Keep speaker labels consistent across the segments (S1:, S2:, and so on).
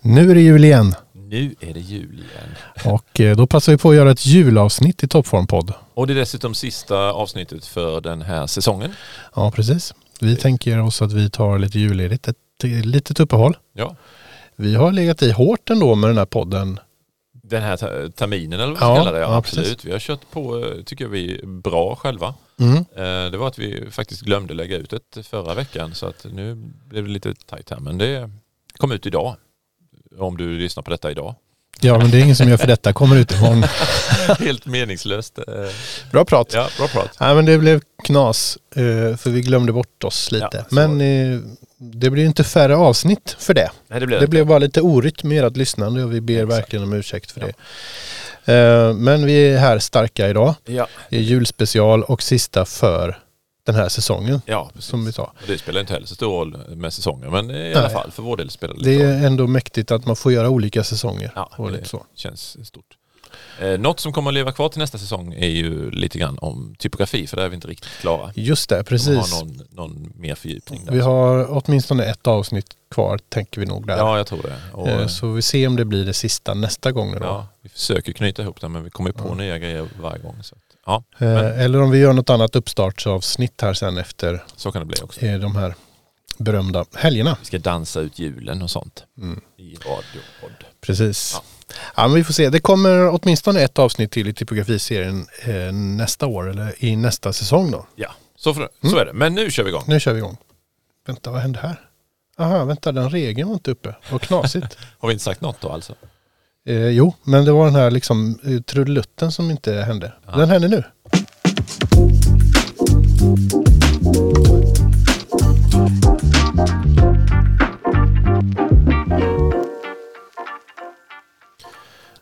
S1: Nu är det jul igen
S2: Nu är det jul igen.
S1: och eh, då passar vi på att göra ett julavsnitt i Toppformpodd.
S2: Och det är dessutom sista avsnittet för den här säsongen.
S1: Ja, precis. Vi tänker oss att vi tar lite julledigt, ett ett litet uppehåll.
S2: Ja.
S1: Vi har legat i hårt ändå med den här podden.
S2: Den här ta- terminen eller vad
S1: Ja,
S2: man kallar det.
S1: ja,
S2: absolut.
S1: precis.
S2: Vi har kört på, eh, tycker jag, vi är bra själva.
S1: Mm.
S2: Eh, Det var att vi faktiskt glömde lägga ut ett förra veckan så att nu blev det lite tajt här. Men det kom ut idag. Om du lyssnar på detta idag.
S1: Ja, men det är ingen som gör för detta. Kommer ut imorgon.
S2: Helt meningslöst. Eh,
S1: Bra prat.
S2: Ja, bra prat.
S1: Nej, men det blev knas eh, för vi glömde bort oss lite.
S2: Ja, så
S1: men eh, det blir ju inte färre avsnitt för det.
S2: Nej, det blev
S1: Det
S2: det.
S1: blev bara lite orytm i ert lyssnande och vi ber verkligen om ursäkt för
S2: Ja.
S1: det. Eh, Men vi är här starka idag.
S2: Ja,
S1: Det är julspecial och sista för den här säsongen
S2: ja precis.
S1: som vi tar.
S2: Och Det spelar inte heller så stor roll med säsonger men i alla
S1: Nej.
S2: fall för vår del spelar det lite
S1: Det
S2: roll.
S1: är ändå mäktigt att man får göra olika säsonger.
S2: Ja,
S1: och
S2: det-
S1: lite så.
S2: känns stort. Eh, något som kommer att leva kvar till nästa säsong är ju lite grann om typografi, för där är vi inte riktigt klara.
S1: Just det,
S2: Vi kommer ha
S1: precis.
S2: någon, någon mer fördjupning där.
S1: Vi har åtminstone ett avsnitt kvar tänker vi nog där.
S2: Ja, jag tror det. Och,
S1: Eh,
S2: eh,
S1: Så vi ser om det blir det sista nästa gång. nu Då.
S2: ja, vi försöker knyta ihop det, men vi kommer ju på nya grejer varje gång. Så, att, ja,
S1: Eh, Eller om vi gör något annat uppstartsavsnitt här sen efter
S2: så kan det bli också.
S1: eh, de här berömda helgerna.
S2: Vi ska dansa ut julen och sånt
S1: Mm.
S2: i radiopodd.
S1: Precis. Ja.
S2: Ja.
S1: men vi får se. Det kommer åtminstone ett avsnitt till i typografiserien eh, nästa år eller i nästa säsong då.
S2: Ja, så, för, så
S1: Mm.
S2: är det. Men nu kör vi igång.
S1: Nu kör vi igång. Vänta, vad hände här? Aha, vänta, den regeln var inte uppe. Vad knasigt.
S2: Har vi inte sagt något då alltså?
S1: eh, jo, men det var den här liksom eh, trudelutten som inte hände. Den hände nu.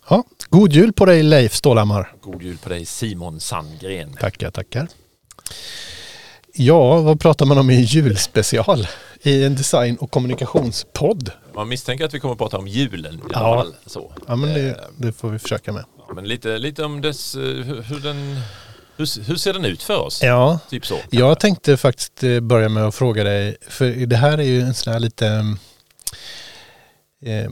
S1: Ja, god jul på dig Leif Stålhammar.
S2: God jul på dig Simon Sandgren.
S1: Tackar, tackar. Ja, vad pratar man om i en julspecial? I en design och kommunikationspodd?
S2: Man misstänker att vi kommer att prata om julen i alla
S1: Ja.
S2: fall. Så.
S1: Ja, men det, det får vi försöka med.
S2: Ja, men lite, lite om dess, eh, hur, hur den, hur, hur ser den ut för oss?
S1: Ja,
S2: Typ så.
S1: jag tänkte faktiskt eh, börja med att fråga dig, för det här är ju en sån här lite eh,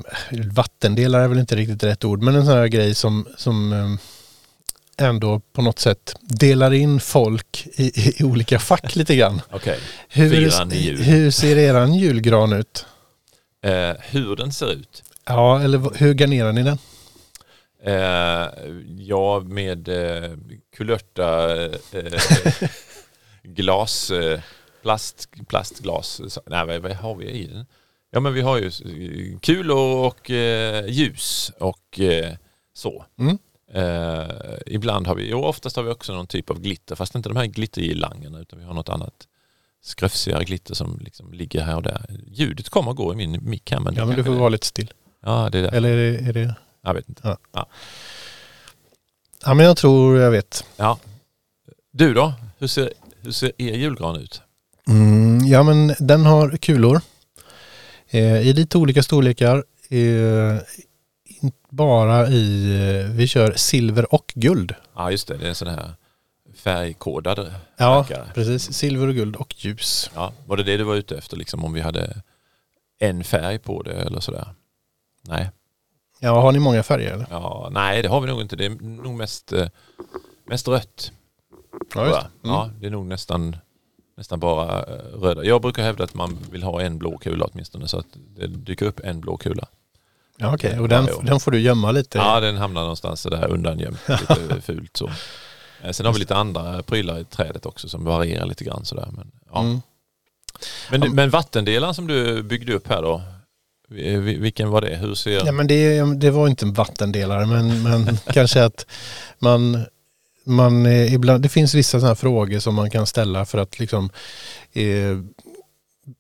S1: vattendelare är väl inte riktigt rätt ord, men en sån här grej som, som eh, ändå på något sätt delar in folk i, i, i olika fack lite grann.
S2: Okej. Firar ni
S1: Hur,
S2: jul?
S1: hur ser eran julgran ut?
S2: Eh, hur den ser ut?
S1: Ja, eller v- hur garnerar ni den?
S2: Eh, ja, med eh, kulörta eh, glas, eh, plast, plastglas. Så- Nej, vad, vad har vi i den? Ja, men vi har ju eh, kulor och eh, ljus och eh, så.
S1: Mm.
S2: Eh, ibland har vi, och oftast har vi också någon typ av glitter, fast inte de här glittergirlangerna utan vi har något annat skröfsigare glitter som liksom ligger här och där. Ljudet kommer och går i min mick här men,
S1: Ja, men du
S2: kanske-
S1: får vara lite still.
S2: ja, det är där.
S1: Eller är det, är det...
S2: Jag vet inte.
S1: Ja, men jag tror jag vet.
S2: Ja. Du då? Hur ser, hur ser er julgran ut?
S1: Mm, ja, men den har kulor. Eh, I lite olika storlekar. Eh, inte bara i... eh, Vi kör silver och guld.
S2: Ja just det, det är en sån här färgkodad
S1: Ja,
S2: rackare.
S1: precis. Silver och guld och ljus.
S2: ja. Var det det du var ute efter liksom om vi hade en färg på det eller sådär? Nej.
S1: Ja, har ni många färger eller?
S2: Ja, nej det har vi nog inte. Det är nog mest, eh, mest rött.
S1: Ja, Mm.
S2: tror jag. ja, det är nog nästan, nästan bara eh, röda. Jag brukar hävda att man vill ha en blå kula åtminstone så att det dyker upp en blå kula.
S1: ja okej. Och den,
S2: Ja, jo.
S1: den får du gömma lite.
S2: Ja, den hamnar någonstans där undangömt, lite fult så. Eh, Sen har vi lite andra prylar i trädet också som varierar lite grann sådär. Men, ja.
S1: Mm.
S2: men, du- men vattendelaren som du byggde upp här då, vi- vi- vilken var det? Hur ser...
S1: Ja, men det, det var inte en vattendelare, men, men kanske att man, man eh, ibland, det finns vissa sådana här frågor som man kan ställa för att liksom, eh,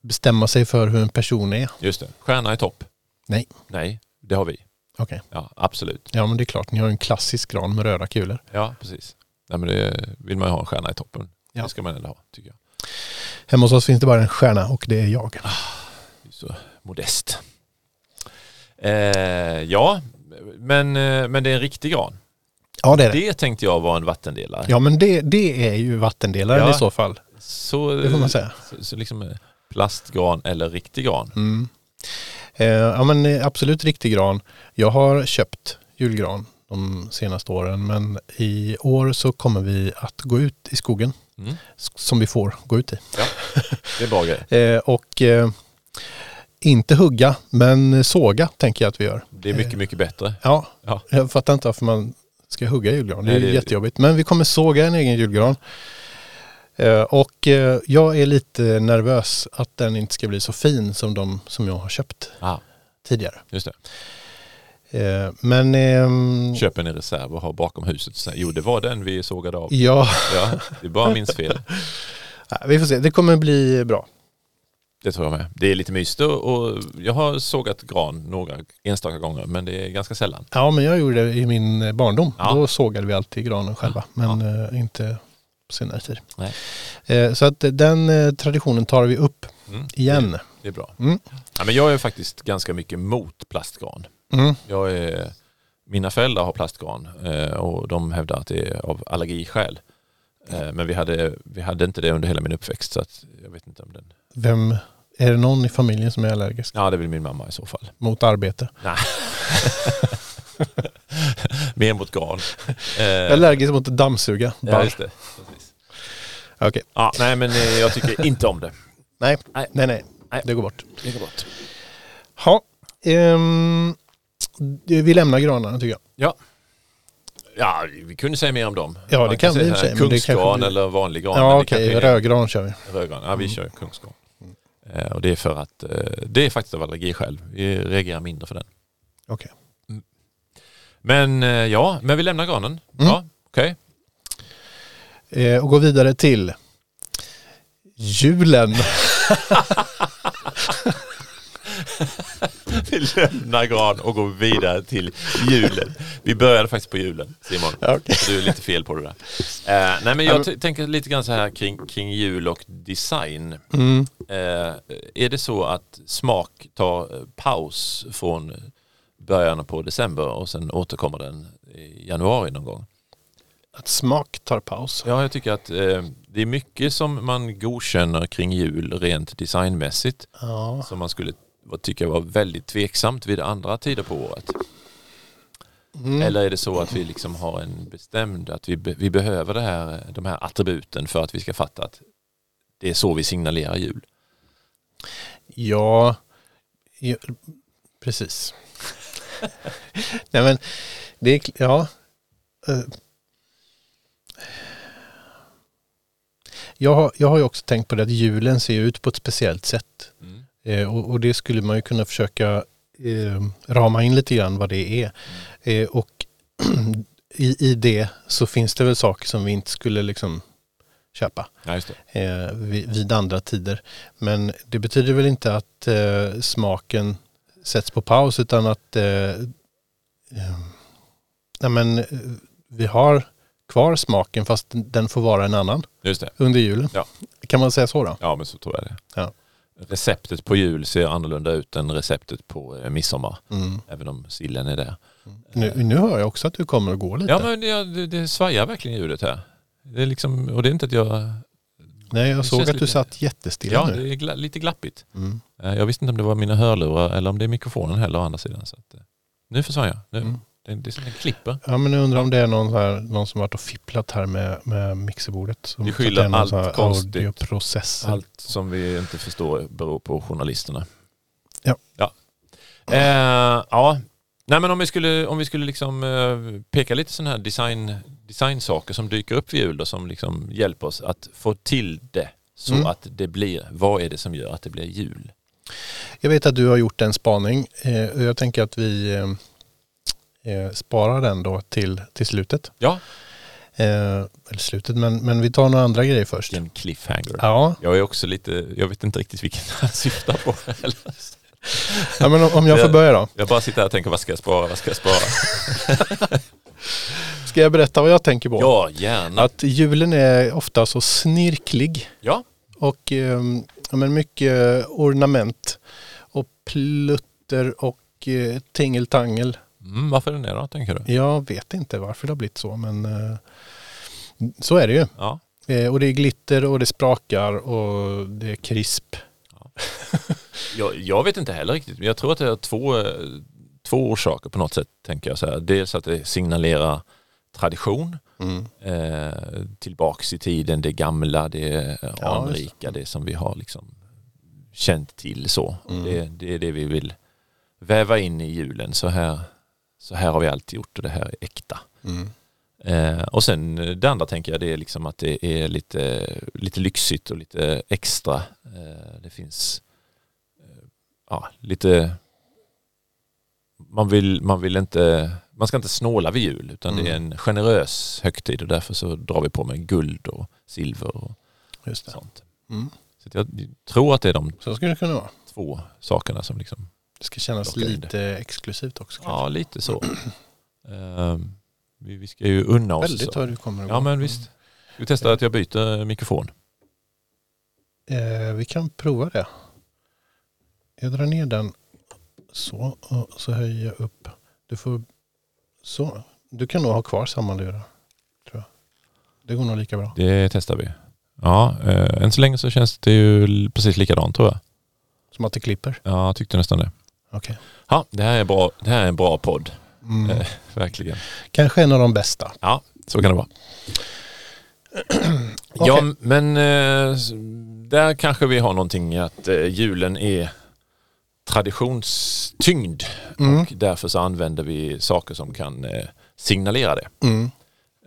S1: bestämma sig för hur en person är.
S2: Just det, stjärna i topp.
S1: Nej.
S2: Nej, det har vi.
S1: Okej.
S2: Ja, absolut.
S1: Ja, men det är klart, ni har ju en klassisk gran med röda kulor.
S2: Ja, precis. Nej, men det vill man ju ha en stjärna i toppen.
S1: Ja.
S2: Det ska man ändå ha, tycker jag.
S1: Hemma hos oss finns det bara en stjärna och det är jag.
S2: Det är Så modest. Eh, ja, men, eh, men det är en riktig gran.
S1: Ja, det är det.
S2: Det tänkte jag var en vattendelare.
S1: Ja, men det, det är ju vattendelaren
S2: Ja.
S1: i så fall.
S2: Så,
S1: Det får man säga.
S2: Så, så liksom eh, plastgran eller riktig gran.
S1: Mm. Eh, ja men eh, absolut riktig gran. Jag har köpt julgran de senaste åren men i år så kommer vi att gå ut i skogen
S2: Mm.
S1: s- som vi får gå ut i.
S2: Det är bra grej.
S1: Eh, och eh, inte hugga men såga tänker jag att vi gör.
S2: Det är mycket, mycket bättre.
S1: Ja,
S2: Ja.
S1: jag fattar inte varför man ska hugga julgran. Det är
S2: Nej,
S1: ju
S2: det-
S1: jättejobbigt. Men vi kommer såga en egen julgran. Eh, Och eh, jag är lite nervös att den inte ska bli så fin som de som jag har köpt
S2: Ah,
S1: tidigare.
S2: just det.
S1: Eh, Men ehm,
S2: Köp en i reserv och ha bakom huset. Så här, Jo, det var den vi sågade av.
S1: ja,
S2: Ja, det är bara minns fel.
S1: vi får se. Det kommer bli bra.
S2: Det tror jag med. Det är lite mysigt och, och jag har sågat gran några enstaka gånger men det är ganska sällan.
S1: Ja, men jag gjorde det i min eh, barndom.
S2: Ja.
S1: Då sågade vi alltid granen själva, men eh, inte på senare tid.
S2: Nej.
S1: Eh, Så att eh, den eh, traditionen tar vi upp
S2: Mm.
S1: igen.
S2: Det är bra.
S1: Mm.
S2: Ja, men jag är faktiskt ganska mycket mot plastgran.
S1: Mm.
S2: Jag är, mina föräldrar har plastgran eh, och de hävdar att det är av allergiskäl. Eh, Men vi hade, vi hade inte det under hela min uppväxt så att jag vet inte om den...
S1: Vem, är det någon i familjen som är allergisk
S2: Ja, det är väl min mamma i så fall.
S1: mot arbete?
S2: Mer mot gran. Eh,
S1: Jag är allergisk mot dammsuga.
S2: ja,
S1: Barr.
S2: just det. Precis.
S1: Okej.
S2: Ja, nej, men eh, jag tycker inte om det.
S1: Nej.
S2: Nej.
S1: nej, nej,
S2: Nej.
S1: det går bort.
S2: Det går bort.
S1: Ha. ehm, vi lämnar granarna tycker jag.
S2: Ja, vi kunde säga mer om dem.
S1: Ja,
S2: Man
S1: det kan vi i och
S2: säga
S1: för sig,
S2: här,
S1: men det kanske
S2: Kungsgran
S1: blir-
S2: eller vanlig gran. men
S1: Ja,
S2: det
S1: okej.
S2: kanske är
S1: Rödgran kör vi.
S2: Rödgran. Ja, vi kör kungsgran. Eh, och det är för att eh, det är faktiskt av allergiskäl. Vi reagerar mindre för den.
S1: Okej.
S2: Mm. Men eh, ja, men vi lämnar granen. Ja, okej.
S1: Eh, och går vidare till julen.
S2: Vi lämnar gran och går vidare till julen. Vi började faktiskt på julen, Simon.
S1: Ja, okej.
S2: Så Du är lite fel på det där. Eh, nej, men jag t- tänker lite grann så här kring, kring jul och design.
S1: Mm.
S2: Eh, är det så att smak tar eh, paus från början på december och sen återkommer den i januari någon gång?
S1: Att smak tar paus.
S2: Ja, jag tycker att eh, det är mycket som man godkänner kring jul rent designmässigt
S1: Ja.
S2: som man skulle tycka var väldigt tveksamt vid andra tider på året.
S1: Mm.
S2: Eller är det så att vi liksom har en bestämd, att vi, be, vi behöver det här, de här attributen för att vi ska fatta att det är så vi signalerar jul?
S1: Ja, ju- precis. Nej men, det är, kl- ja. Eh. Jag har, jag har ju också tänkt på det att julen ser ut på ett speciellt sätt. Eh, och, och det skulle man ju kunna försöka eh, rama in lite grann vad det är. Eh, och i, i det så finns det väl saker som vi inte skulle liksom köpa
S2: Ja, just det.
S1: eh, vid, vid andra tider. Men det betyder väl inte att eh, smaken sätts på paus utan att eh, eh, nej men, eh, vi har kvar smaken fast den får vara en annan
S2: Just det.
S1: under julen.
S2: Ja.
S1: Kan man säga så då?
S2: Ja, men så tror jag det.
S1: Ja.
S2: Receptet på jul ser annorlunda ut än receptet på eh, midsommar,
S1: Mm.
S2: även om sillen är där.
S1: Nu, nu hör jag också att du kommer att gå lite.
S2: Eh. Ja, men det, det, det svajar verkligen ljudet här. Det är liksom, och det är inte att jag...
S1: Nej,
S2: det
S1: jag såg
S2: känns
S1: att du
S2: lite-
S1: satt jättestilla
S2: Ja,
S1: nu.
S2: det är gla, lite glappigt.
S1: Mm.
S2: Eh, Jag visste inte om det var mina hörlurar eller om det är mikrofonen heller å andra sidan. Så att, eh, nu försvann jag. Nu.
S1: Mm.
S2: Det, det är som den klipper.
S1: Ja, men jag undrar om det är någon, så här, någon som varit och fipplat här med, med mixerbordet. Som
S2: Vi
S1: så att
S2: skyller
S1: det är någon
S2: allt
S1: så här
S2: konstigt.
S1: Audioprocess.
S2: Allt som vi inte förstår beror på journalisterna.
S1: Ja.
S2: Ja. Eh, ja. Nej, men om vi skulle, om vi skulle liksom, eh, peka lite sådana här design, designsaker som dyker upp vid jul och som liksom hjälper oss att få till det så
S1: Mm.
S2: att det blir, vad är det som gör att det blir jul?
S1: Jag vet att du har gjort en spaning eh, och jag tänker att vi eh, eh, sparar den då till, till slutet.
S2: Ja,
S1: Eh, eller slutet, men, men vi tar några andra grejer först.
S2: en cliffhanger.
S1: Ja,
S2: Jag är också lite, jag vet inte riktigt vilken han syftar på. heller.
S1: ja men om- om jag får börja då.
S2: Jag bara sitter här och tänker vad ska jag spara, vad ska jag spara?
S1: Ska jag berätta vad jag tänker på?
S2: Ja, gärna.
S1: Att julen är ofta så snirklig
S2: Ja,
S1: och eh, ja, men mycket ornament och plutter och eh, tingeltangel.
S2: mm, varför är den det då tänker du?
S1: Jag vet inte varför det har blivit så, men eh, så är det ju.
S2: Ja,
S1: Eh, och det är glitter och det sprakar och det är krisp.
S2: Jag, jag vet inte heller riktigt, men jag tror att det är två, eh, två orsaker på något sätt. tänker jag så här. Dels att det signalerar tradition
S1: Mm.
S2: eh, tillbaks i tiden, det gamla, det eh,
S1: Ja,
S2: anrika, det. som vi har liksom känt till så.
S1: Mm.
S2: Det, det är det vi vill väva in i julen. Så här, så här har vi alltid gjort och det här är äkta.
S1: Mm.
S2: Eh, och sen eh, det andra tänker jag det är liksom att det är lite, lite lyxigt och lite extra. Eh, det finns eh, ja, lite man vill, man vill inte man ska inte snåla vid jul utan det är
S1: Mm.
S2: en generös högtid och därför så drar vi på med guld och silver och
S1: Just det.
S2: sånt.
S1: Mm.
S2: Så att jag tror att det är de
S1: Så skulle det kunna vara.
S2: två sakerna som liksom,
S1: Det ska kännas
S2: Plocka in
S1: lite exklusivt också.
S2: ja
S1: kanske.
S2: lite så. Eh, vi, vi ska ju unna oss.
S1: Väldigt
S2: så.
S1: vad du kommer att
S2: Ja
S1: gå.
S2: men visst. Ska vi testa att jag byter mikrofon?
S1: Eh, vi kan prova det. Jag drar ner den så och så höjer jag upp. Du får så. Du kan nog ha kvar samma lurar. Tror jag. Det går nog lika bra.
S2: Det testar vi. Ja, eh, än så länge så känns det ju l- precis likadant tror jag.
S1: Som att det klipper.
S2: Ja, jag tyckte nästan det.
S1: Okej.
S2: Ja, det här är, bra, det här är en bra podd.
S1: Mm.
S2: Eh, Verkligen.
S1: Kanske en av de bästa.
S2: Ja, så kan det vara. Ja,
S1: Okej.
S2: men eh, s- där kanske vi har någonting att eh, julen är traditionstyngd.
S1: Mm.
S2: Och därför så använder vi saker som kan eh, signalera det
S1: Mm.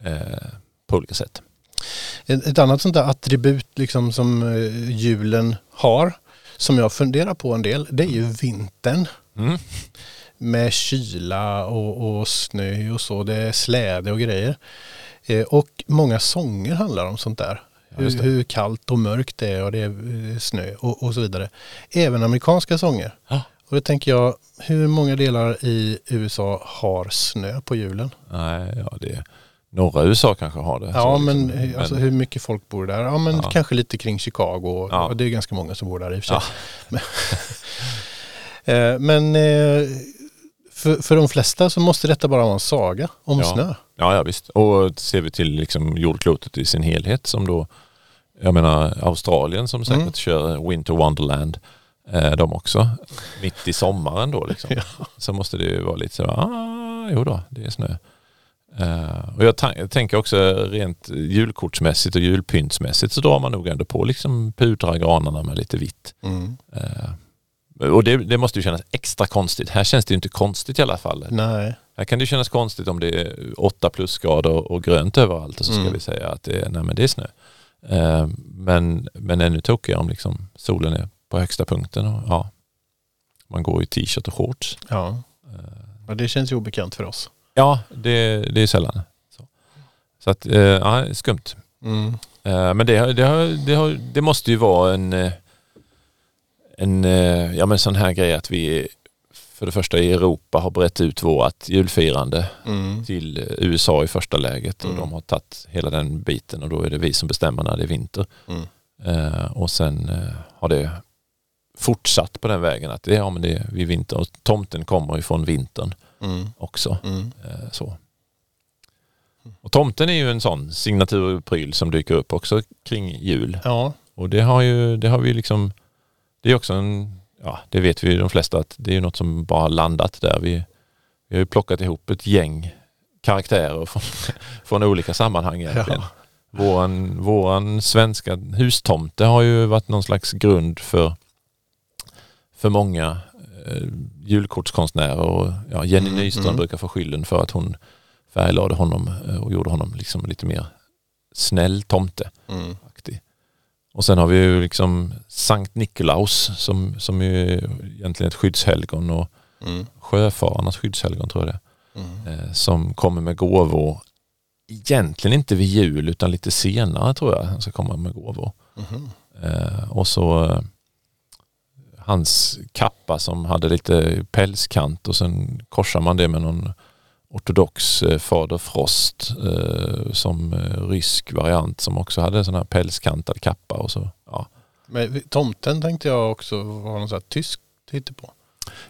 S2: eh, på olika sätt.
S1: Ett ett annat sånt där attribut liksom som eh, julen har, som jag funderar på en del, det är ju vintern.
S2: Mm.
S1: Med kyla och, och snö och så, det är släde och grejer. Eh, och många sånger handlar om sånt där.
S2: Ja, just
S1: Hur,
S2: det.
S1: hur kallt och mörkt det är och det är eh, snö och, och så vidare. Även amerikanska sånger.
S2: Ja.
S1: Och då tänker jag, hur många delar i USA har snö på julen?
S2: Nej, Ah, ja, det norra USA kanske har det.
S1: Ja,
S2: Så
S1: men,
S2: liksom,
S1: eh, alltså, hur mycket folk bor där? Ja, men
S2: Ja.
S1: kanske lite kring Chicago.
S2: Ja.
S1: Ja. Det är ganska många som bor där i och för sig. Eh, Men eh, för, för de flesta så måste detta bara vara en saga om
S2: Ja.
S1: snö.
S2: Ja, ja visst. Och ser vi till liksom jordklotet i sin helhet som då, jag menar Australien som säkert
S1: Mm.
S2: kör Winter Wonderland, eh, de också, mitt i sommaren då liksom. Så måste det ju vara lite så, ah, jo då, det är snö. Eh, och jag, ta- jag tänker också rent julkortsmässigt och julpyntsmässigt så drar man nog ändå på liksom pudrar granarna med lite vitt.
S1: Mm.
S2: Eh, och det, det måste ju kännas extra konstigt. Här känns det ju inte konstigt i alla fall.
S1: Nej,
S2: Här kan det kännas konstigt om det är 8 plusgrader och grönt överallt och så ska
S1: Mm.
S2: vi säga att det är, nej men det är snö. Eh, men, men ännu tokigare om liksom solen är på högsta punkten och ja, man går i t-shirt och shorts. Eh,
S1: ja. ja. Det känns ju obekant för oss.
S2: Ja, det, det är sällan. Så, så att, eh, ja, skumt.
S1: Mm.
S2: Eh, men det, har- det, har, det, har, det måste ju vara en, eh, en eh, ja, men sån här grej att vi för det första i Europa har brett ut vårt julfirande
S1: Mm.
S2: till eh, USA i första läget och
S1: Mm.
S2: de har tagit hela den biten och då är det vi som bestämmer när det är vinter.
S1: Mm.
S2: Eh, och sen eh, har det fortsatt på den vägen att det, ja, men det är vid vinter och tomten kommer ifrån vintern
S1: Mm.
S2: också.
S1: Mm.
S2: Eh, så. Och tomten är ju en sån signaturpryl som dyker upp också kring jul.
S1: Ja,
S2: Och det har ju, det har vi liksom, det är också en, ja det vet vi ju de flesta att det är ju något som bara har landat där. Vi, vi har ju plockat ihop ett gäng karaktärer från, från olika sammanhang egentligen.
S1: Ja.
S2: Våran, våran svenska hustomte har ju varit någon slags grund för, för många eh, julkortskonstnärer och ja, Jenny
S1: Mm,
S2: Nyström
S1: mm.
S2: brukar få skylden för att hon färglade honom eh, och gjorde honom liksom lite mer snäll tomte
S1: mm.
S2: aktig. Och sen har vi ju liksom Sankt Nikolaus som, som ju är egentligen ett skyddshelgon och
S1: Mm.
S2: sjöfararnas skyddshelgon tror jag det
S1: Mm.
S2: är, eh, som kommer med gåvor. Egentligen inte vid jul utan lite senare tror jag han ska komma med gåvor.
S1: Mhm.
S2: Eh, och så eh, hans kappa som hade lite pälskant och sen korsar man det med någon ortodox eh, fader Frost eh, som eh, rysk variant som också hade en sån här pälskantad kappa och så. Ja.
S1: Men tomten tänkte jag också var någon sån här tysk på.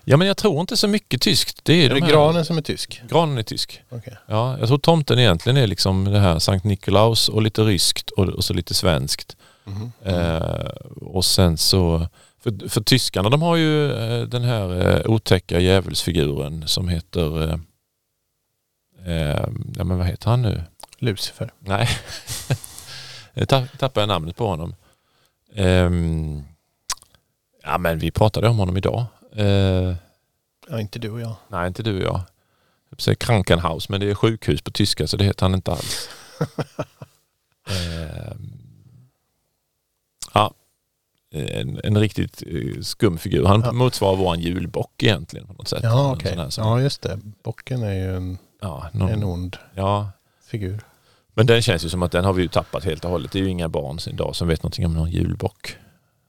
S2: ja men jag tror inte så mycket tyskt. Det är,
S1: Är
S2: de
S1: det
S2: här-
S1: granen som är tysk?
S2: granen är tysk.
S1: Okej.
S2: Ja, jag tror tomten egentligen är liksom det här Sankt Nikolaus Eh, och lite ryskt och, och så lite svenskt.
S1: Mhm.
S2: Eh, och sen så För, för tyskarna de har ju eh, den här eh, otäcka djävulsfiguren som heter, eh, eh, ja men vad heter han nu?
S1: Lucifer.
S2: Nej, jag ta- tappade jag namnet på honom. Ehm, ja men vi pratade om honom idag. Eh,
S1: Ja, inte du och jag.
S2: nej inte du och jag. Jag säger Krankenhaus men det är sjukhus på tyska så det heter han inte alls. Ehm, ja, en, en riktigt eh, skum figur. Han
S1: Ja.
S2: motsvarar våran julbock egentligen på något sätt.
S1: Ja,
S2: En
S1: okej.
S2: sån här som-
S1: Ja, just det. Bocken är ju en,
S2: ja, någon,
S1: en ond
S2: ja,
S1: figur.
S2: men den känns ju som att den har vi ju tappat helt och hållet. Det är ju inga barn idag som vet någonting om någon julbock.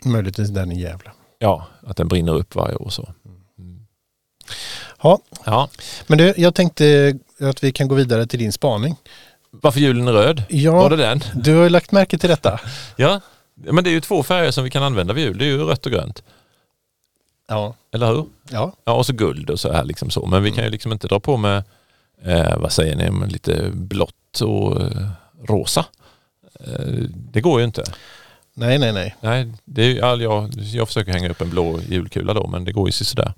S1: Möjligtvis den i Gävle.
S2: Ja, att den brinner upp varje år så. Mm.
S1: Ja.
S2: Ja.
S1: Men du, jag tänkte att vi kan gå vidare till din spaning.
S2: Varför julen är röd? Var
S1: Ja,
S2: det den?
S1: du har ju lagt märke till detta.
S2: Ja. Men det är ju två färger som vi kan använda vid jul. Det är ju rött och grönt.
S1: Ja.
S2: Eller hur?
S1: Ja,
S2: Ja, och så guld och så här liksom så. Men vi kan ju liksom inte dra på med, eh, vad säger ni, men lite blått och eh, rosa. Eh, det går ju inte.
S1: nej, nej, nej.
S2: Nej, det är, ju- ja, jag, jag försöker hänga upp en blå julkula då, men det går ju sådär.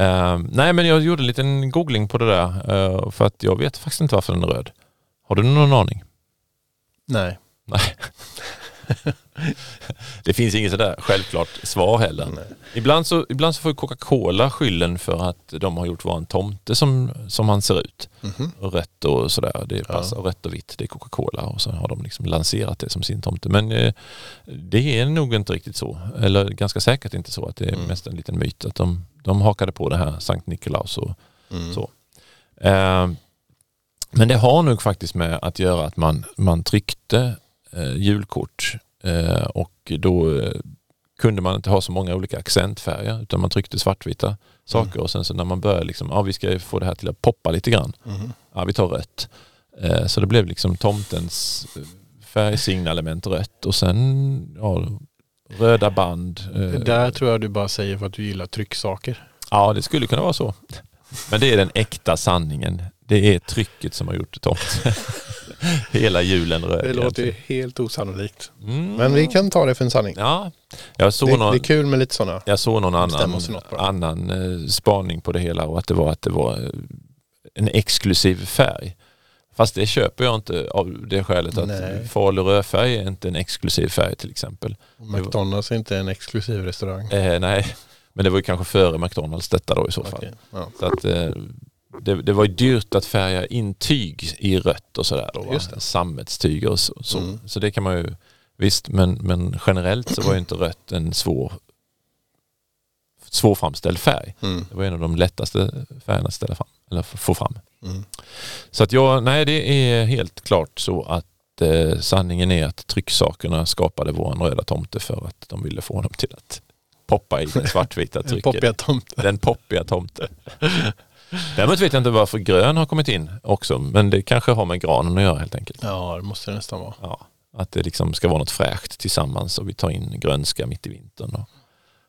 S2: Uh, nej, men jag gjorde en liten googling på det där, eh, för att jag vet faktiskt inte varför den är röd. Har du någon aning?
S1: Nej.
S2: Det finns inget sådär självklart svar heller. Ibland så, ibland så får ju Coca-Cola skylden för att de har gjort våran tomte som, som han ser ut.
S1: Mhm.
S2: Och rött och sådär, det passar rött och vitt, det är Coca-Cola och så har de liksom lanserat det som sin tomte. Men eh, det är nog inte riktigt så, eller ganska säkert inte så att det är
S1: Mm.
S2: mest en liten myt att de, de hakade på det här Sankt Nikolaus och
S1: Mm.
S2: Så. Eh, men det har nog faktiskt med att göra att man, man tryckte eh, julkort eh, och då eh, kunde man inte ha så många olika accentfärger utan man tryckte svartvita saker och sen så när man började liksom, ja vi ska få det här till att poppa lite grann,
S1: Mhm.
S2: ja vi tar rött. Eh, så det blev liksom tomtens eh, färgsignalement rött och sen ja, röda band.
S1: Det
S2: eh,
S1: där tror jag du bara säger för att du gillar trycksaker.
S2: Ja, det skulle kunna vara så. Men det är den äkta sanningen. Det är trycket som har gjort det tomt. Hela julen röd.
S1: Det låter ju
S2: Eh, egentligen.
S1: helt osannolikt.
S2: Mm.
S1: Men vi kan ta det för en sanning.
S2: Ja, jag
S1: Det,
S2: såg
S1: det
S2: någon,
S1: är kul med lite sådana.
S2: jag såg någon
S1: Bestämma
S2: annan,
S1: oss för något bara.
S2: annan eh, spaning på det hela och att det var, att det var eh, en exklusiv färg. Fast det köper jag inte av det skälet att
S1: Nej.
S2: falu rödfärg är inte en exklusiv färg till exempel.
S1: McDonalds är inte en exklusiv restaurang.
S2: Eh, nej, men det var ju kanske före McDonalds detta då i så fall.
S1: Okej, ja.
S2: Så att, eh, det, det var ju dyrt att färga intyg i rött och sådär. Då, va?
S1: Just det.
S2: Sammetstyg och så. Så,
S1: Mm.
S2: så det kan man ju, visst men, men generellt så var ju inte rött en svår, svårframställd färg.
S1: Mm.
S2: Det var en av de lättaste färgerna att ställa fram, eller f- få fram.
S1: Mm.
S2: Så att jag, nej det är helt klart så att eh, sanningen är att trycksakerna skapade våran röda tomte för att de ville få honom till att poppa i det svartvita
S1: En
S2: trycket.
S1: poppiga tomte.
S2: Den poppiga tomten. Däremot vet jag inte varför grön har kommit in också, men det kanske har med granen att göra helt enkelt.
S1: Ja, det måste det nästan vara.
S2: Ja, att det liksom ska vara något fräscht tillsammans och vi tar in grönska mitt i vintern. Och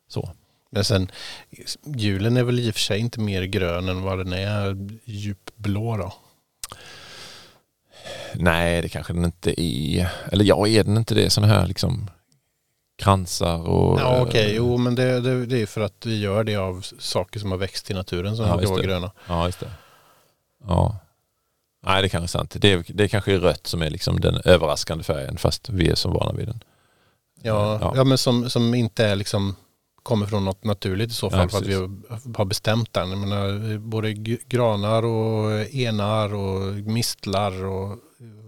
S2: så.
S1: Men sen, julen är väl i och för sig inte mer grön än vad den är djupblå då.
S2: Nej, det kanske den inte är. Eller ja, är den inte det? Sådana här liksom kransar och... eh,
S1: Ja, okej. Jo, men det, det, det är för att vi gör det av saker som har växt i naturen som
S2: Ja,
S1: brukar
S2: just
S1: vara
S2: det.
S1: gröna.
S2: Ja, just det. Ja. Nej, det kanske är sant. Det, är, det kanske är rött som är liksom den överraskande färgen, fast vi är så vana vid den.
S1: Ja, ja.
S2: Ja.
S1: men som, som inte är liksom kommer från något naturligt i så fall
S2: Ja,
S1: för att vi har- har bestämt den. Jag menar, både g- granar och enar och mistlar och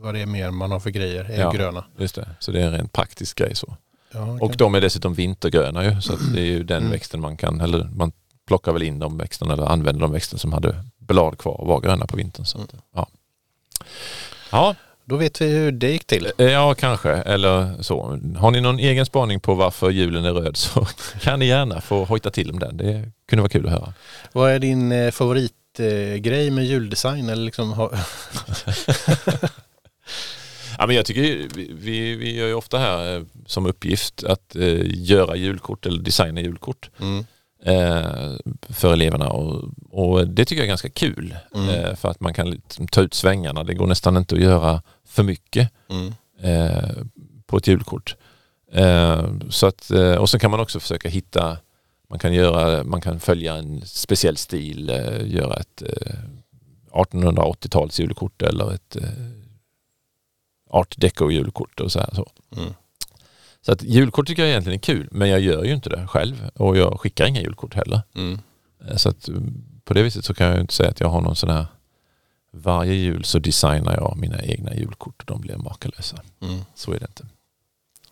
S1: vad det är mer man har för grejer är
S2: Ja.
S1: gröna.
S2: Just det. Så det är en rent praktisk grej så.
S1: Ja, okej.
S2: Och de är dessutom vintergröna ju, så att det är ju den
S1: Mm.
S2: växten man kan, eller man plockar väl in de växterna eller använder de växter som hade blad kvar och var gröna på vintern. Så att, ja. Ja,
S1: Då vet vi hur det gick till.
S2: eh, ja, kanske. Eller så. Har ni någon egen spaning på varför julen är röd så kan ni gärna få hojta till om den. Det kunde vara kul att höra.
S1: Vad är din eh, favoritgrej med juldesign? Eller liksom, ha,
S2: Ja, men jag tycker ju- vi- vi, vi gör ju ofta här eh, som uppgift att eh, göra julkort eller designa julkort.
S1: mm.
S2: eh, för eleverna och, och det tycker jag är ganska kul
S1: Mm.
S2: eh, för att man kan liksom ta ut svängarna. Det går nästan inte att göra för mycket
S1: Mm.
S2: eh, på ett julkort. Eh, så att, eh, och sen kan man också försöka hitta, man kan, göra, man kan följa en speciell stil, eh, göra ett eh, 1880-tals julkort eller ett eh, art deco julkort och så här. Så.
S1: Mm.
S2: så att julkort tycker jag egentligen är kul, men jag gör ju inte det själv och jag skickar inga julkort heller.
S1: Mm.
S2: Eh, Så att mm, på det viset så kan jag ju inte säga att jag har någon sån här varje jul så designar jag mina egna julkort och de blir makalösa.
S1: Mm.
S2: Så är det inte.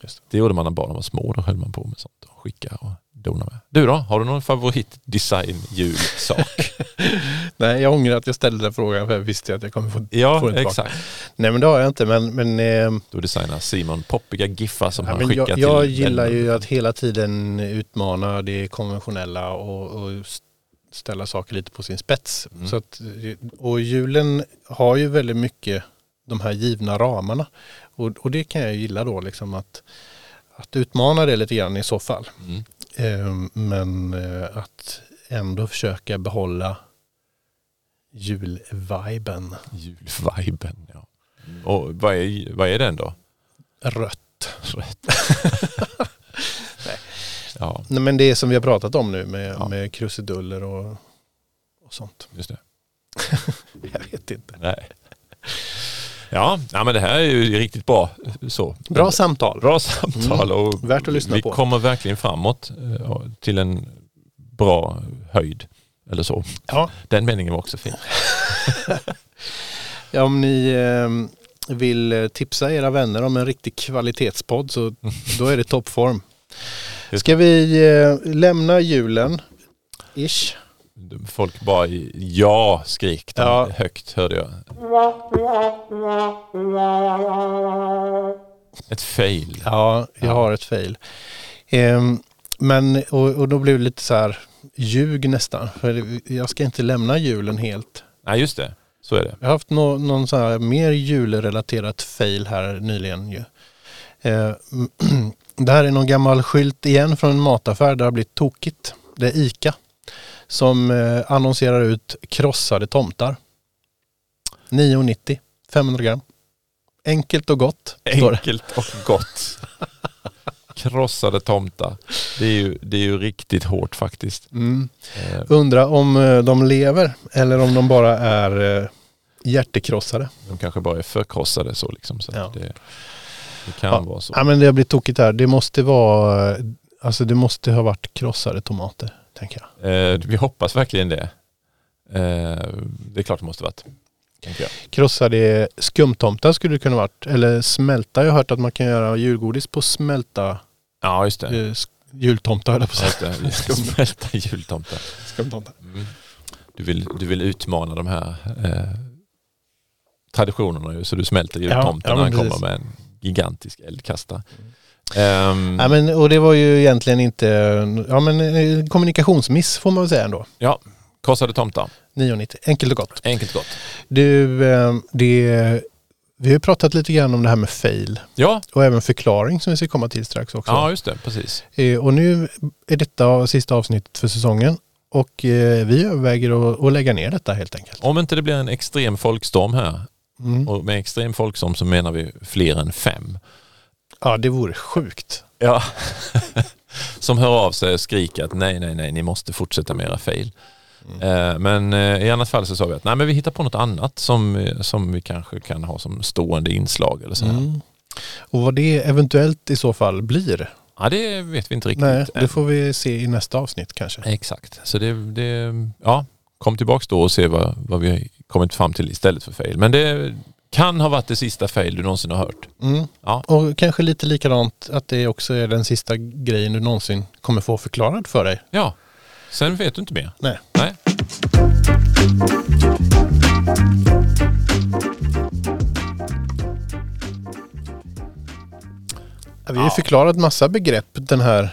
S1: Just
S2: det. gjorde man när barnen var små. Då höll man på med sånt och skicka och dona med. Du då? Har du någon favoritdesign-julsak?
S1: Nej, jag ångrar att jag ställde den frågan för jag visste att jag kommer få... Får
S2: ja,
S1: inte
S2: exakt.
S1: Nej, men det har jag inte. Men, men, eh,
S2: Då designar Simon poppiga giffar som
S1: ja,
S2: han
S1: men
S2: skickar
S1: jag,
S2: till.
S1: jag
S2: en-
S1: gillar ju att hela tiden utmana det konventionella och, och s- ställa saker lite på sin spets.
S2: Mm.
S1: Så att, och julen har ju väldigt mycket de här givna ramarna. Och, och det kan jag gilla då, liksom att, att utmana det lite grann i så fall.
S2: Mm.
S1: Eh, Men eh, att ändå försöka behålla julviben.
S2: Julviben, ja.
S1: Mm.
S2: Och vad är, vad är den då?
S1: Rött.
S2: Rätt. Ja,
S1: Nej, men det är som vi har pratat om nu med,
S2: Ja.
S1: med krusiduller och, och sånt.
S2: just det.
S1: Jag vet inte.
S2: Nej. Ja, ja, men det här är ju riktigt bra. Så.
S1: Bra samtal.
S2: Bra samtal och
S1: Värt att lyssna
S2: vi
S1: på.
S2: kommer verkligen framåt eh, och till en bra höjd. Eller så.
S1: Ja.
S2: Den meningen var också fin.
S1: Ja, om ni eh, vill eh, tipsa era vänner om en riktig kvalitetspodd så då är det toppform.
S2: Just
S1: Ska vi eh, lämna julen? Ish.
S2: Folk bara ja skrek den
S1: Ja.
S2: högt hörde jag. Ett fail.
S1: Ja, jag har ett fail. Ehm, men, och, och då blev det lite så här ljug nästan. För det- jag ska inte lämna julen helt.
S2: Nej just det, så är det.
S1: Jag har haft nå någon så här mer julrelaterat fail här nyligen ju. Eh, det här är någon gammal skylt igen från en mataffär där det har blivit tokigt. Det är ICA som eh, annonserar ut krossade tomtar. 9,90, 500 gram. Enkelt och gott, står det.
S2: Enkelt och gott. Krossade tomtar. Det är, ju, det är ju riktigt hårt faktiskt.
S1: Mm.
S2: Eh,
S1: Undra om eh, de lever eller om de bara är eh, hjärtekrossade.
S2: De kanske bara är förkrossade så liksom. Så att
S1: Ja.
S2: det, det kan
S1: Ja.
S2: vara så.
S1: Ja men det har blivit tokigt här. Det måste vara, alltså det måste ha varit krossade tomater, tänker jag.
S2: Eh, vi hoppas verkligen det. Eh, det är klart det måste varit. Tänker jag.
S1: Krossade skumtomtar skulle det kunna varit. Eller smälta. Jag har hört att man kan göra julgodis på smälta
S2: Ja, just
S1: eh,
S2: det.
S1: sk- jultomtar, höll jag på att säga.
S2: Just det. Smälta jultomtar.
S1: Skumtomtar.
S2: Mm. Du, vill, du vill utmana de här eh, traditionerna ju, så du smälter jultomten
S1: ja, men
S2: när han kommer
S1: precis. Mm.
S2: med en gigantisk eldkasta. Ehm,
S1: Ja, men, och det var ju egentligen inte, ja men eh, kommunikationsmiss får man väl säga ändå.
S2: ja, krossade tomtar.
S1: 9,90. Enkelt och gott.
S2: Enkelt gott.
S1: Du, eh, det, vi har ju pratat lite grann om det här med fail
S2: Ja,
S1: och även förklaring som vi ska komma till strax också.
S2: ja just det. Precis.
S1: Eh, Och nu är detta sista avsnittet för säsongen och eh, vi överväger att, att lägga ner detta helt enkelt.
S2: Om inte det blir en extrem folkstorm här,
S1: Mm.
S2: och med extrem folkstorm så menar vi fler än fem.
S1: Ja, det vore sjukt.
S2: Ja. Som hör av sig och skriker att nej, nej, nej, ni måste fortsätta med era fail.
S1: Mm.
S2: Eh, Men eh, i annat fall så sa vi att nej, men vi hittar på något annat som, eh, som vi kanske kan ha som stående inslag eller så här.
S1: Mm. Och vad det eventuellt i så fall blir,
S2: Ja, det vet vi inte riktigt.
S1: nej, det
S2: än.
S1: får vi se i nästa avsnitt kanske.
S2: Exakt, så det, det ja, kom tillbaks då och se vad, vad vi har kommit fram till istället för fail. Men det kan ha varit det sista fail du någonsin har hört.
S1: Mm.
S2: Ja.
S1: Och kanske lite likadant att det också är den sista grejen du någonsin kommer få förklarad för dig.
S2: Ja, sen vet du inte mer.
S1: Nej.
S2: Nej.
S1: Vi har ju förklarat massa begrepp den här,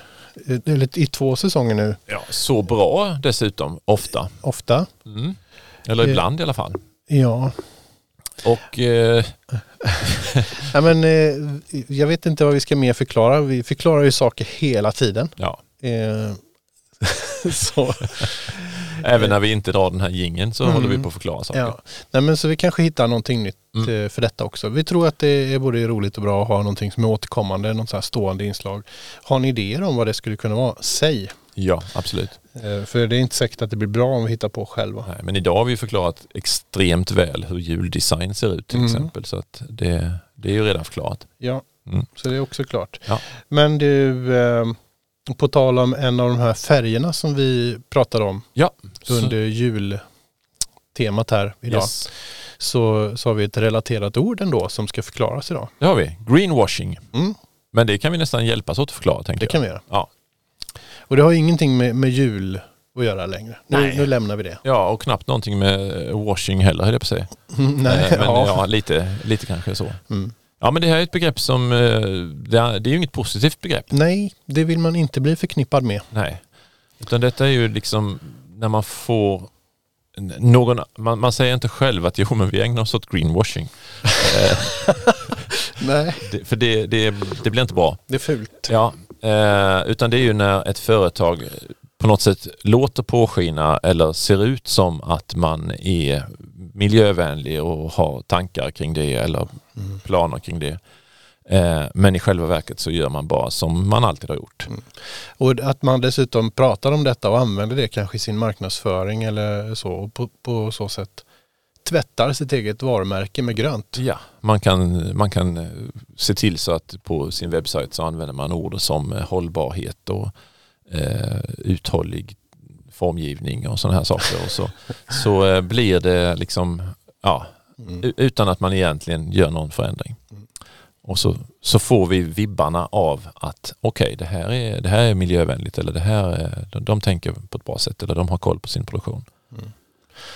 S1: eh, eller i två säsonger nu,
S2: Ja, så bra dessutom, ofta.
S1: ofta.
S2: Mm. Eller
S1: Eh.
S2: ibland i alla fall.
S1: Ja,
S2: Och eh,
S1: Nej, men, eh, jag vet inte vad vi ska mer förklara. Vi Eh, förklarar ju saker hela tiden.
S2: ja,
S1: Eh, så
S2: Även när vi inte drar den här gingen så
S1: Mm.
S2: håller vi på att förklara saker.
S1: Ja. Nej, men så vi kanske hittar någonting nytt
S2: Mm.
S1: eh, för detta också. Vi tror att det är både roligt och bra att ha någonting som är återkommande, något så här stående inslag. Har ni idéer om vad det skulle kunna vara, säg.
S2: ja absolut.
S1: Eh, För det är inte säkert att det blir bra om vi hittar på själva.
S2: Nej, men idag har vi ju förklarat extremt väl hur juldesign ser ut till
S1: Mm.
S2: exempel. Så att det, det är ju redan förklarat.
S1: Ja,
S2: Mm.
S1: så det är också klart.
S2: Ja.
S1: Men du, eh, på tal om en av de här färgerna som vi pratade om
S2: Ja,
S1: under jultemat här idag,
S2: Yes.
S1: så, så har vi ett relaterat ord ändå som ska förklaras idag.
S2: det har vi. Greenwashing.
S1: Mm,
S2: Men det kan vi nästan hjälpas åt att förklara tänker
S1: det
S2: jag.
S1: kan vi göra.
S2: Ja.
S1: Och det har ju ingenting med, med jul att göra längre. Nu,
S2: Nej.
S1: nu lämnar vi det.
S2: Ja, och knappt någonting med eh, washing heller höll jag på att säga.
S1: Nej,
S2: Eh, Men
S1: ja.
S2: ja, lite, lite kanske så.
S1: Mm.
S2: Ja men det här är ett begrepp som, eh, det är det är ju inget positivt begrepp.
S1: Nej, det vill man inte bli förknippad med.
S2: Nej. Utan detta är ju liksom när man får n- någon, man, man säger inte själv att jo men vi ägnar oss åt greenwashing. Eh,
S1: Nej,
S2: det, för det, det, det blir inte bra.
S1: det är fult.
S2: Ja, eh, utan det är ju när ett företag på något sätt låter påskina eller ser ut som att man är miljövänlig och har tankar kring det eller
S1: Mm.
S2: planer kring det. Eh, men i själva verket så gör man bara som man alltid har gjort.
S1: Och att man dessutom pratar om detta och använder det kanske i sin marknadsföring eller så. Och på, på så sätt tvättar sitt eget varumärke med grönt.
S2: Ja, man kan, man kan eh, se till så att på sin webbsajt så använder man ord som eh, hållbarhet och eh, uthållig formgivning och sådana här saker. Och så, så eh, blir det liksom, ja,
S1: Mm.
S2: u- utan att man egentligen gör någon förändring.
S1: Mm.
S2: Och så, så får vi vibbarna av att okej, det, här är, det här är miljövänligt eller det här är, de, de tänker på ett bra sätt eller de har koll på sin produktion.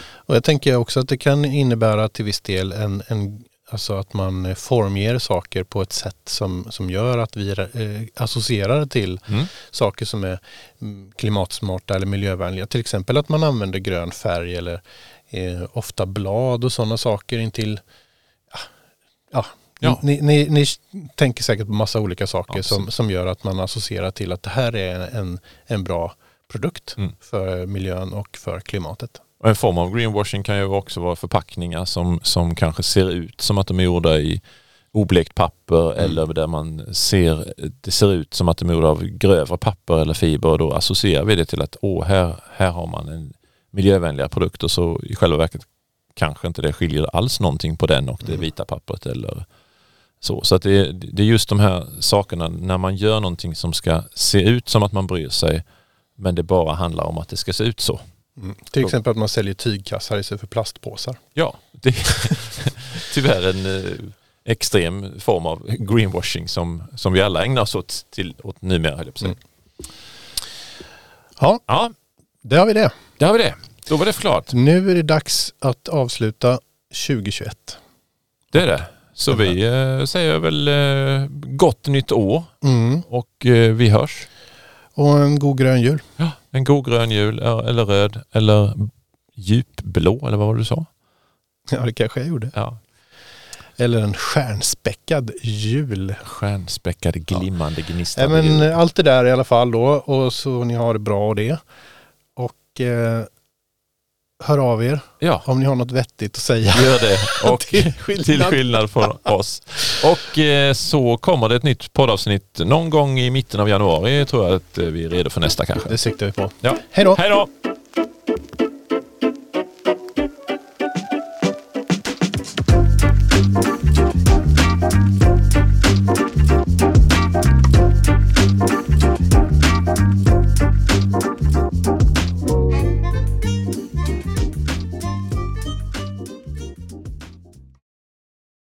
S1: Och jag tänker också att det kan innebära till viss del en, en Alltså att man eh, formger saker på ett sätt som, som gör att vi eh, associerar till saker som är mm, klimatsmarta eller miljövänliga. Till exempel att man använder grön färg eller eh, ofta blad och sådana saker intill. Ah, Ja, ja.
S2: Ja.
S1: Ni, ni, ni tänker säkert på massa olika saker som,
S2: Absolut.
S1: som gör att man associerar till att det här är en, en bra produkt
S2: Mm.
S1: för miljön och för klimatet.
S2: Och en form av greenwashing kan ju också vara förpackningar som, som kanske ser ut som att de är gjorda i oblekt papper
S1: Mm.
S2: eller där man ser, det ser ut som att de är gjorda av grövre papper eller fiber och då associerar vi det till att åh, här, här har man en miljövänligare produkt och så i själva verket kanske inte det skiljer alls någonting på den och det
S1: Mm.
S2: vita pappret eller så. Så att det, är- det är just de här sakerna när man gör någonting som ska se ut som att man bryr sig men det bara handlar om att det ska se ut så.
S1: Till exempel att man säljer tygkassar istället för plastpåsar.
S2: Ja, det är tyvärr en eh, extrem form av greenwashing som, som vi alla ägnar oss åt, till, åt numera, höll jag på att säga.
S1: Mm. Ja,
S2: Ja,
S1: där har vi det.
S2: där har vi det. Då var det förklarat.
S1: Nu är det dags att avsluta 2021.
S2: Det är det. Så vi eh, säger väl eh, gott nytt år
S1: Mm.
S2: och eh, vi hörs.
S1: Och en god grön jul.
S2: Ja. En god grön jul eh, eller röd eller djupblå eller vad var det du sa?
S1: Ja, det kanske jag gjorde.
S2: Ja.
S1: Eller en stjärnspäckad jul.
S2: Stjärnspäckad, glimmande,
S1: Nej,
S2: gnistrande
S1: men
S2: jul.
S1: eh, allt det där i alla fall då. Och så ni har det bra och det. Och eh, hör av er
S2: Ja,
S1: om ni har något vettigt att säga.
S2: gör det. Och
S1: Till skillnad.
S2: Till skillnad från oss. Och eh, så kommer det ett nytt poddavsnitt någon gång i mitten av januari tror jag att eh, vi är redo för nästa kanske.
S1: Det siktar vi på.
S2: Ja.
S1: Hej då!
S2: Hej då!